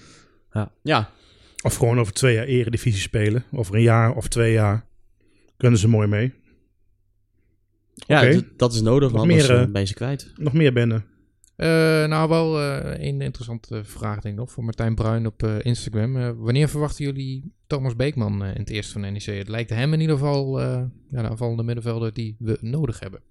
Ja, Of gewoon over twee jaar eredivisie spelen. Over een jaar of twee jaar. Kunnen ze mooi mee. ja Oké. d- dat is nodig, Nog want anders meer, eh, eh, ben je ze kwijt. Nog meer binnen. Eh, nou, wel eh een interessante vraag denk ik nog voor Martijn Bruin op eh, Instagram. Eh, wanneer verwachten jullie Thomas Beekman eh, in het eerste van NEC? Het lijkt hem in ieder geval eh ja, de aanvallende middenvelder die we nodig hebben.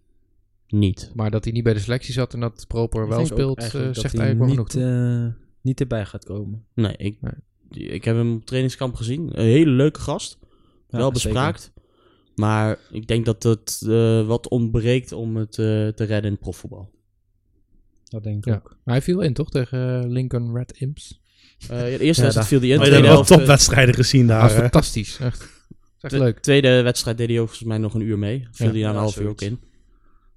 Niet. Maar dat hij niet bij de selectie zat en dat Proper wel speelt, eh, zegt eigenlijk wel hij genoeg. niet, eh, niet erbij gaat komen. Nee, ik, Nee. ik heb hem op trainingskamp gezien. Een hele leuke gast. Ja, wel zeker. bespraakt. Maar ik denk dat het eh, wat ontbreekt om het eh, te redden in het profvoetbal. Dat denk ik Ja. eh, ook. Maar hij viel in, toch? Tegen eh, Lincoln Red Imps. Eh, ja, de eerste Ja, wedstrijd viel hij in. Maar de je hebt Tweede, wel helft, eh, topwedstrijden gezien Ah, daar. eh, hè? fantastisch. Echt, Dat is echt de leuk. tweede wedstrijd deed hij ook volgens mij nog een uur mee. Viel Ja. hij na een Ja, half uur ook in.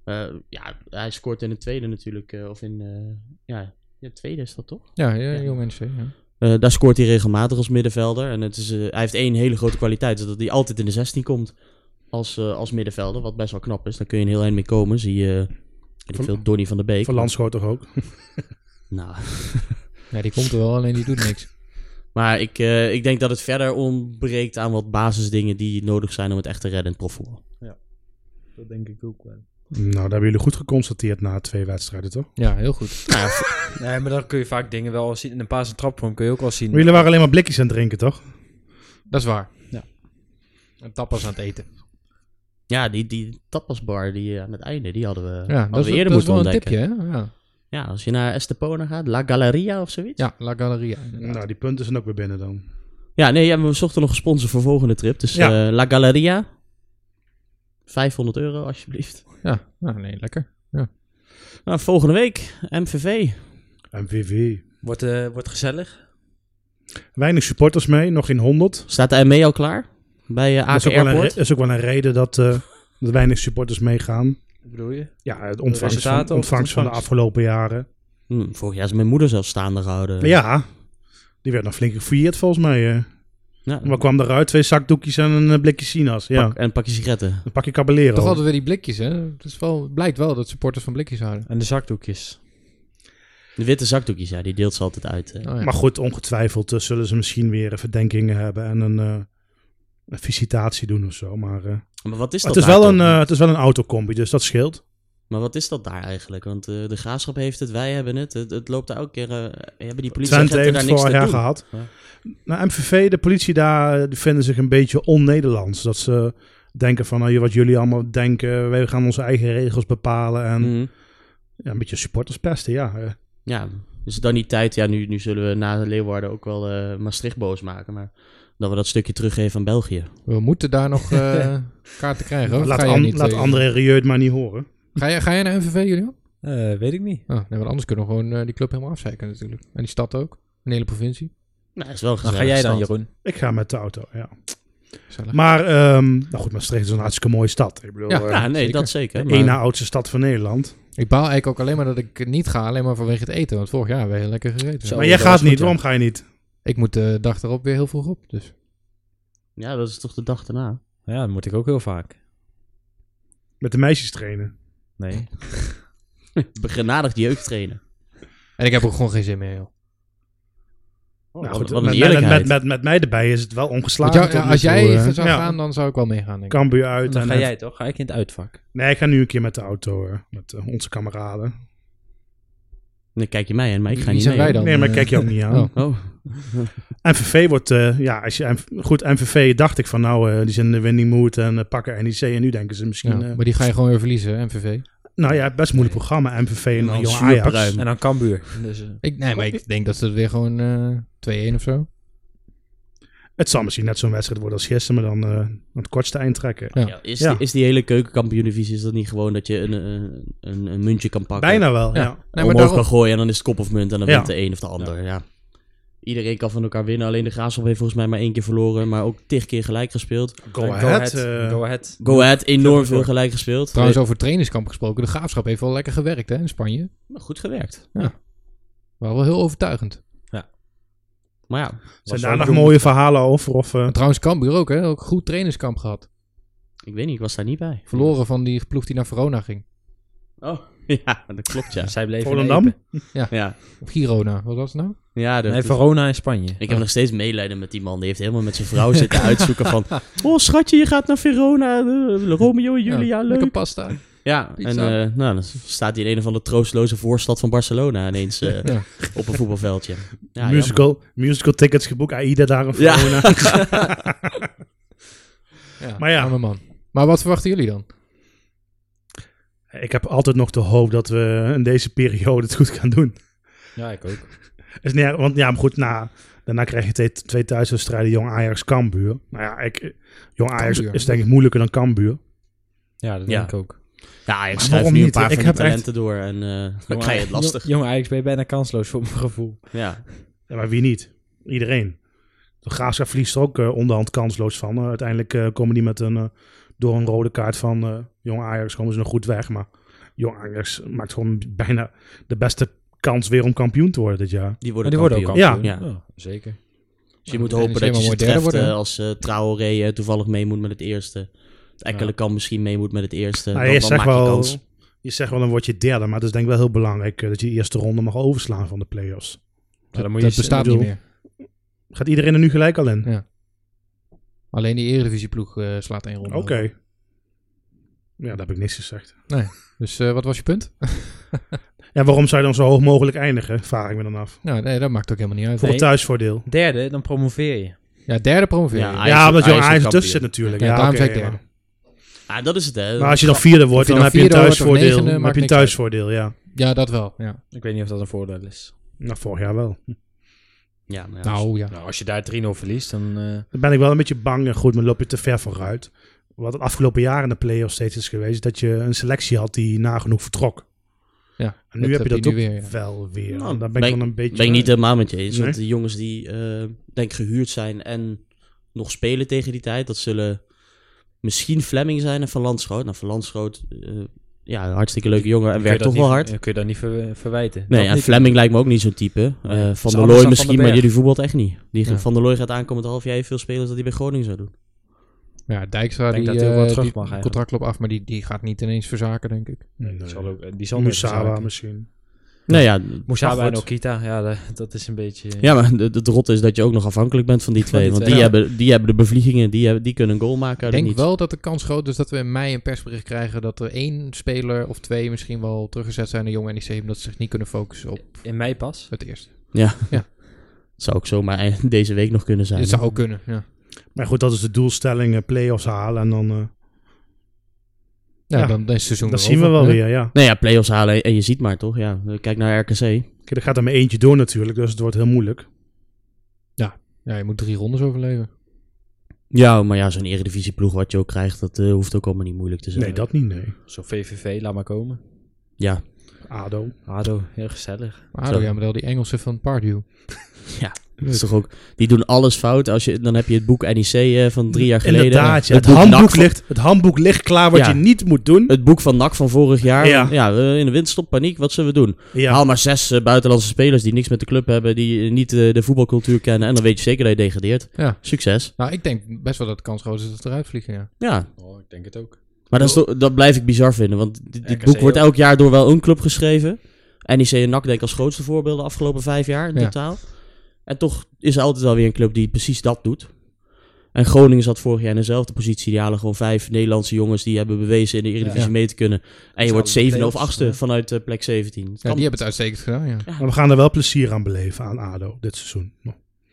zoiets. Eh, ja, hij scoort in de tweede natuurlijk. eh, of in... eh, ja, de tweede is dat toch? Ja, ja, jong NEC. Ja. Eh, daar scoort hij regelmatig als middenvelder. En het is, eh, hij heeft één hele grote kwaliteit. Dat hij altijd in de 16 komt als, eh, als middenvelder. Wat best wel knap is. Daar kun je een heel eind mee komen. Zie je... weet ik Van- veel, Donny van der Beek. Van Landschot toch ook. Nou, Ja, die komt er wel, alleen die doet niks. maar ik, eh, ik denk dat het verder ontbreekt aan wat basisdingen die nodig zijn om het echt te redden in het profvoetbal. Dat denk ik ook wel. Nou, dat hebben jullie goed geconstateerd na twee wedstrijden, toch? Ja, heel goed. Nee, maar dan kun je vaak dingen wel zien. In een paas- en trapvorm kun je ook wel zien. Maar jullie waren alleen maar blikjes aan het drinken, toch? Dat is waar. Ja. En tapas aan het eten. Ja, die, die tapasbar die eh, aan het einde, die hadden we, Ja, hadden dat we is, eerder dat is moeten wel een ontdekken. tipje, hè? Ja. Ja, als je naar Estepona gaat, La Galleria of zoiets. ja, La Galleria. inderdaad. Nou, die punten zijn ook weer binnen dan. Ja, nee, ja, we zochten nog een sponsor voor volgende trip. Dus Ja. eh, La Galleria. 500 euro, alsjeblieft. Ja, nou nee, lekker. Nou, volgende week, MVV. MVV. Wordt, eh, wordt gezellig. Weinig supporters mee, nog geen 100. Staat de ME al klaar? Bij eh Dat is, Aken ook wel een, re- Airport? dat is ook wel een reden dat, eh, dat weinig supporters meegaan. Wat bedoel je? Ja, het ontvangst, van, resultaten of het ontvangst van de ontvangst? afgelopen jaren. Hm, vorig jaar is mijn moeder zelfs staande gehouden. Maar ja, die werd nog flink gefouilleerd volgens mij. eh. Eh, Ja, Maar kwam eruit, twee zakdoekjes en een eh, blikje sinaas. Ja, pak- en een pakje sigaretten. een pakje caballero. Toch hadden we die blikjes, hè? Het is wel, blijkt wel dat supporters van blikjes houden. En de zakdoekjes. De witte zakdoekjes, ja, die deelt ze altijd uit. eh. Oh, ja. Maar goed, ongetwijfeld eh, zullen ze misschien weer verdenkingen hebben en een, eh, een visitatie doen of zo. Maar, eh, Maar wat is maar dat het, is daar wel een, dan? eh, het is wel een autocombi, dus dat scheelt. Maar wat is dat daar eigenlijk? Want eh, de graafschap heeft het, wij hebben het. Het, het loopt daar ook keer. eh, hebben die Twente politieagenten heeft daar het niks te vorig jaar doen? gehad. Ja. Nou, MVV, de politie daar, eh, die vinden zich een beetje on-Nederlands. Dat ze denken van, nou, joh, wat jullie allemaal denken, wij gaan onze eigen regels bepalen. En Mhm. ja, een beetje supporters pesten, ja. eh. Ja, dus dan die tijd. Ja, nu, nu zullen we na Leeuwarden ook wel eh, Maastricht boos maken. Maar dat we dat stukje teruggeven aan België. We moeten daar nog eh, kaarten krijgen, hoor. laat ga, jij An- niet, laat eh, André Rieu het maar niet horen. ga, jij, ga jij naar MVV, Julian? Eh, weet ik niet. Ah, nee, want anders kunnen we gewoon eh, die club helemaal afzeiken natuurlijk. En die stad ook. Een hele provincie. Nou, is wel Dan gezellig. ga jij dan, stand. Jeroen. Ik ga met de auto, ja. Gezellig. Maar, ehm, nou goed, Maastricht is een hartstikke mooie stad. Ik bedoel, Ja, Oh, eh, Ja, nee, Zeker. dat zeker. de Maar, één na oudste stad van Nederland. Ik baal eigenlijk ook alleen maar dat ik niet ga, alleen maar vanwege het eten. Want vorig jaar hebben we heel lekker gegeten. Zo. maar Oh, jij dat was gaat goed, niet, ja. waarom ga je niet? Ik moet de dag erop weer heel vroeg op. Dus. Ja, dat is toch de dag daarna. Ja, dat moet ik ook heel vaak. Met de meisjes trainen. Nee. Begenadigd jeugd trainen. En ik heb ook gewoon geen zin meer, joh. nou, Oh, wat- goed, wat een met, met, eerlijkheid. met, met, met mij erbij is het wel Want ongeslagen. jou- tot nu als toe, jij eh. zou Ja, gaan, dan zou ik wel meegaan, denk ik. Cambuur uit. Dan en ga en- jij toch? Ga ik in het uitvak. Nee, ik ga nu een keer met de auto, eh, met eh, onze kameraden. Dan kijk je mij aan, maar ik ga Wie niet zijn mee. wij dan? nee, maar ik eh, kijk je ook niet aan. oh. Oh, MVV wordt, eh, ja, als je, M- goed, MVV dacht ik van nou, eh, die zijn in de winning mood en eh, pakken NEC. En nu denken ze misschien, Ja, eh, maar die ga je gewoon weer verliezen, MVV. nou ja, best moeilijk programma. MVV en Een Jong zuur Ajax. pruim. En dan Cambuur. Dus, eh, Ik, nee, maar ik denk dat ze het weer gewoon eh 2-1 of zo. Het zal misschien net zo'n wedstrijd worden als gisteren, maar dan eh, aan het kortste eind trekken. Ja. Ja, is, Ja. Die, is die hele keukenkampioen-divisie, is dat niet gewoon dat je een, een, een, een muntje kan pakken? Bijna wel, Ja. ja. Nee, maar omhoog daarom, kan gooien en dan is het kop of munt en dan Ja. wint de een of de ander. Ja. Iedereen kan van elkaar winnen. Alleen de Graafschap heeft volgens mij maar één keer verloren, maar ook tig keer gelijk gespeeld. Go ahead. eh, Go ahead. Go Ahead enorm veel voor. gelijk gespeeld. trouwens over trainingskamp gesproken. De Graafschap heeft wel lekker gewerkt, hè, in Spanje. Maar goed gewerkt. Maar wel heel overtuigend. Maar ja, zijn Was daar wel nog jong. mooie verhalen over? Of, eh, En trouwens, Cambuur ook, hè. Ook goed trainingskamp gehad. ik weet niet, ik was daar niet bij. Verloren van die ploeg die naar Verona ging. Oh, ja, dat klopt ja. Zij bleven in Volendam? Epe. Ja, Of Girona, wat was het nou? ja dat- Nee, Verona in Spanje. Ik heb nog steeds meelijden met die man. Die heeft helemaal met zijn vrouw zitten uitzoeken van... Oh, schatje, je gaat naar Verona. eh, Romeo en Julia, ja, leuk. Lekker pasta. Ja, en Pizza. eh, nou, dan staat hij in een van de troosteloze voorstad van Barcelona ineens eh, Ja. op een voetbalveldje. Ja, musical, musical tickets geboekt, AIDA daar een Ja. Verona. Ja, Maar ja. arme man. Maar wat verwachten jullie dan? Ik heb altijd nog de hoop dat we in deze periode het goed gaan doen. Ja, ik ook. Is niet erg, want ja, maar goed, na, daarna krijg je twee, twee thuiswedstrijden Jong Ajax Cambuur. Nou ja, ik, Jong Ajax Cambuur. is denk ik moeilijker dan Cambuur. Ja, dat Ja. denk ik ook. Ja, ik waarom schrijf nu een niet? paar Ik van die heb echt- talenten door en eh dan krijg je het lastig. Jong Ajax ben je bijna kansloos voor mijn gevoel. Ja. Ja, maar wie niet? Iedereen. De Graafschap verliest er ook eh, onderhand kansloos van. Eh, uiteindelijk eh, komen die met een, eh, door een rode kaart van eh, Jong Ajax komen ze nog goed weg. Maar Jong Ajax maakt gewoon bijna de beste kans weer om kampioen te worden dit jaar. Die Maar worden die worden ook kampioen. kampioen. Ja. zeker. Dus je moet Ja, hopen NEC dat je maar ze mooi derde treft worden, eh, hè? als eh Traoré eh, toevallig mee moet met het eerste. Enkele kan misschien mee moet met het eerste. Nou, dan je dan zegt maak je wel- kans. je zegt wel, dan word je derde. Maar het is denk ik wel heel belangrijk eh, dat je de eerste ronde mag overslaan van de play-offs. Maar dan moet je eh, dat bestaat niet bedoel- meer. Gaat iedereen er nu gelijk al in? Ja. Alleen die Eredivisieploeg eh slaat één ronde. Oké. Ja, daar heb ik niks gezegd. Dus eh, wat was je punt? En waarom zou je dan zo hoog mogelijk eindigen? Vraag ik me dan af. Nou, nee, dat maakt ook helemaal niet uit. Voor het Nee. thuisvoordeel. Derde, dan promoveer je. Ja, derde promoveer. je. Ja, Ja, Ajax- ja, omdat je Ajax is Ajax tussen kampioen. zit natuurlijk. ja, Ja, daarom oké, zei ik ja. derde. Ah, dat is het, hè. Maar als je dan vierde Of wordt, je dan, dan heb je een vierde wordt of thuisvoordeel. negende, dan heb maakt je een niks uit. thuisvoordeel, ja. Ja, dat wel. Ja. Ik weet niet of dat een voordeel is. Nou, vorig jaar wel. Ja, maar ja, als- Nou ja. Nou, als je daar 3-0 verliest, dan... eh, Dan ben ik wel een beetje bang. En goed, maar loop je te ver vooruit. Wat het afgelopen jaar in de play-offs steeds is geweest, dat je een selectie had die nagenoeg vertrok. ja. En nu heb je dat nu ook weer. ja. wel weer. Nou, dan ben ik wel een beetje... ben ik niet eh, helemaal met je eens. Want Nee? de jongens die, eh, denk ik, gehuurd zijn en nog spelen tegen die tijd, dat zullen misschien Fleming zijn en Van Landschoot. Nou, Van Landschoot, eh, ja, een hartstikke leuke jongen en kun je werkt dat toch wel niet- hard. eh, Kun je dat niet ver- verwijten. Nee, Dat en niet. Fleming lijkt me ook niet zo'n type. Eh, van der anders dan Looy Van misschien, den maar Berg. jullie voetbalt echt niet. Die Ja. Van der Looy gaat aankomend half jaar veel spelers dat hij bij Groningen zou doen. Ja, Dijkstra, Ik denk die, dat hij wel eh, terug die mag eigenlijk. contract loopt af, maar die, die gaat niet ineens verzaken, denk ik. Nee, Die zal ook- eh, Die zal nooit Musaba verzaken. misschien. Nou ja, Moesaba Maar en goed. Okita, ja, da- dat is een beetje... eh, ja maar het het rot is dat je ook nog afhankelijk bent van die twee. die want die, twee, ja. hebben, die hebben de bevliegingen, die, hebben, die kunnen een goal maken. Ik uit het denk niets. wel dat de kans groot is dat we in mei een persbericht krijgen dat er één speler of twee misschien wel teruggezet zijn naar Jong NEC, omdat ze zich niet kunnen focussen op In mei pas. het eerste. Zou ook zomaar eind- deze week nog kunnen zijn. Het hè? zou ook kunnen, ja. Maar goed, dat is de doelstelling, eh, play-offs halen. En dan, eh, Ja, Ja. dan is het seizoen dat weer zien we over, wel hè? weer, ja. Nou ja, play-offs halen en je ziet maar toch. Ja, kijk naar RKC. Kijk, er gaat er maar eentje door natuurlijk, dus het wordt heel moeilijk. Ja, je moet drie rondes overleven. Ja, maar ja, zo'n eredivisieploeg wat je ook krijgt, dat eh, hoeft ook allemaal niet moeilijk te zijn. Nee, dat niet, nee. Zo VVV, laat maar komen. Ja, ADO. Ado, heel gezellig. Maar ADO, Zo. ja, maar wel die Engelsen van Pardew. dat is toch ook... Die doen alles fout. Als je, dan heb je het boek NEC eh, van drie jaar geleden. Inderdaad, ja. Het het, boek NAC handboek van- ligt, het handboek ligt klaar wat Ja. je niet moet doen. Het boek van NAC van vorig jaar. Ja. Ja, eh, in de windstop, paniek, wat zullen we doen? Ja, Haal maar zes eh, buitenlandse spelers die niks met de club hebben, die eh, niet eh, de voetbalcultuur kennen. En dan weet je zeker dat je degradeert. Ja. Succes. Nou, ik denk best wel dat de kans groot is dat ze eruit vliegen, ja. Ja, Oh, ik denk het ook. Maar dat, is toch- dat blijf ik bizar vinden, want di- dit, RKC boek wordt ook. elk jaar door wel een club geschreven. NEC en NAC denk ik als grootste voorbeelden de afgelopen vijf jaar in Ja. totaal. En toch is er altijd wel weer een club die precies dat doet. En Groningen zat vorig jaar in dezelfde positie. Die halen gewoon vijf Nederlandse jongens die hebben bewezen in de Eredivisie Ja. mee te kunnen. En je wordt Zouden zevende of play-offs, achtste hè? vanuit eh, plek 17. Het Ja, kan- die hebben het uitstekend gedaan, ja. maar we gaan er wel plezier aan beleven aan ADO dit seizoen.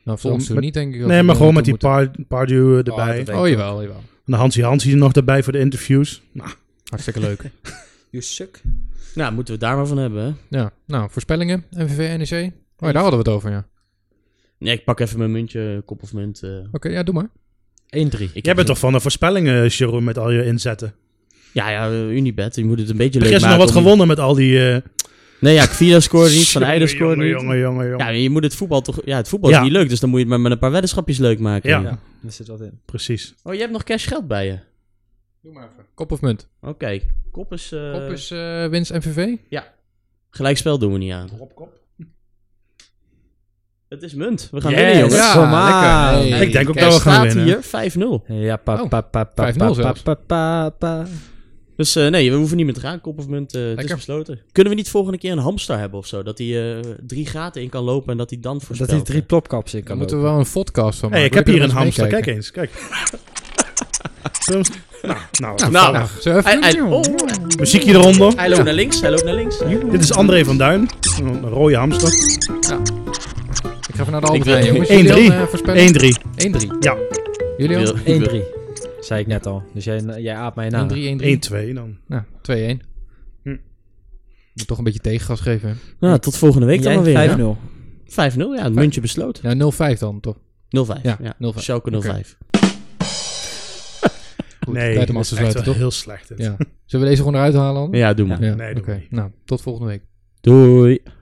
Nou, volgens Zo, mij met- niet, denk ik. dat Nee, we maar gewoon met die naartoe Par- Pardew eh, erbij. dat en weet- moeten. Oh, jawel, jawel. de Hansi Hansi er nog erbij voor de interviews. Nou, Hartstikke leuk. You suck. Nou, moeten we het daar maar van hebben. Hè? ja, nou, voorspellingen. MVV, NEC. Oh, ja, daar hadden we het over, ja. Oké, Nee, ik pak even mijn muntje, kop of munt. eh. ja, doe maar. 1-3. Ik jij heb bent geen- toch van de voorspellingen, eh, Jeroen, met al je inzetten. Ja, ja, eh, Unibet. Je moet het een beetje Er leuk is nog maken. nou wat om- gewonnen met al die... eh, Nee, ja, Kvira scoorde niet, Van jongen, Eijden scoorde jongen, niet. Jongen, jongen, jongen. Ja, je moet het voetbal toch... Ja, het voetbal Ja. is niet leuk, dus dan moet je het maar met een paar weddenschapjes leuk maken. Ja. Ja, daar zit wat in. Precies. Oh, je hebt nog cash geld bij je. Doe maar even. Kop of munt? Oké, Oh, kop is... eh, Kop is eh, winst MVV? Gelijkspel doen we niet aan. Het is munt. We gaan Yes. winnen, jongens. Ja, lekker. Ah, Hey. Ah, Ik denk ook Er dat we gaan staat winnen. hier 5-0. Ja, pa, Oh, pa, pa, pa, 5-0 pa, pa, zelfs. pa, pa, pa. Dus eh, nee, we hoeven niet meer te gaan. Kop of munt, eh, het is Lekker. besloten. Kunnen we niet volgende keer een hamster hebben of zo? Dat hij eh, drie gaten in kan lopen en dat hij dan Dat voorspelt. eh. hij drie plopkaps in Daar kan moeten we lopen. wel een podcast van Hey, maken. ik heb Wil je hier een er nog eens hamster. Kijk meekijken? eens, kijk. Zo, nou, nou, Nou, nou. Zo even Hij, doen, hij, jongen. oh, Muziekje eronder. hij loopt naar links, hij loopt naar links. Dit is André van Duin. Een rode hamster. Ik ga even naar de Albert wil- Heijn, jongens. 1-3. Julian, eh, voorspellen. 1-3. 1-3. Ja, Julian? 1-3, 1-3. Ik wil- 1-3. Zei ik net al. Dus jij, jij aapt mij na. 1-2 dan. Nou, 2-1. Hm. Moet toch een beetje tegengas geven. hè? Nou, tot volgende week dan maar weer. hè? 5-0, 5-0. ja. Het muntje besloten. Ja, 0-5 dan, toch? 05. Ja, Ja, 05. Schalke 05. Goed, nee, tijd om af te dat is echt sluiten, wel toch? heel slecht. dit. Ja. Zullen we deze gewoon eruit halen dan? Ja, doe maar. Ja, Nee, oké. doe maar. Nou, tot volgende week. Doei.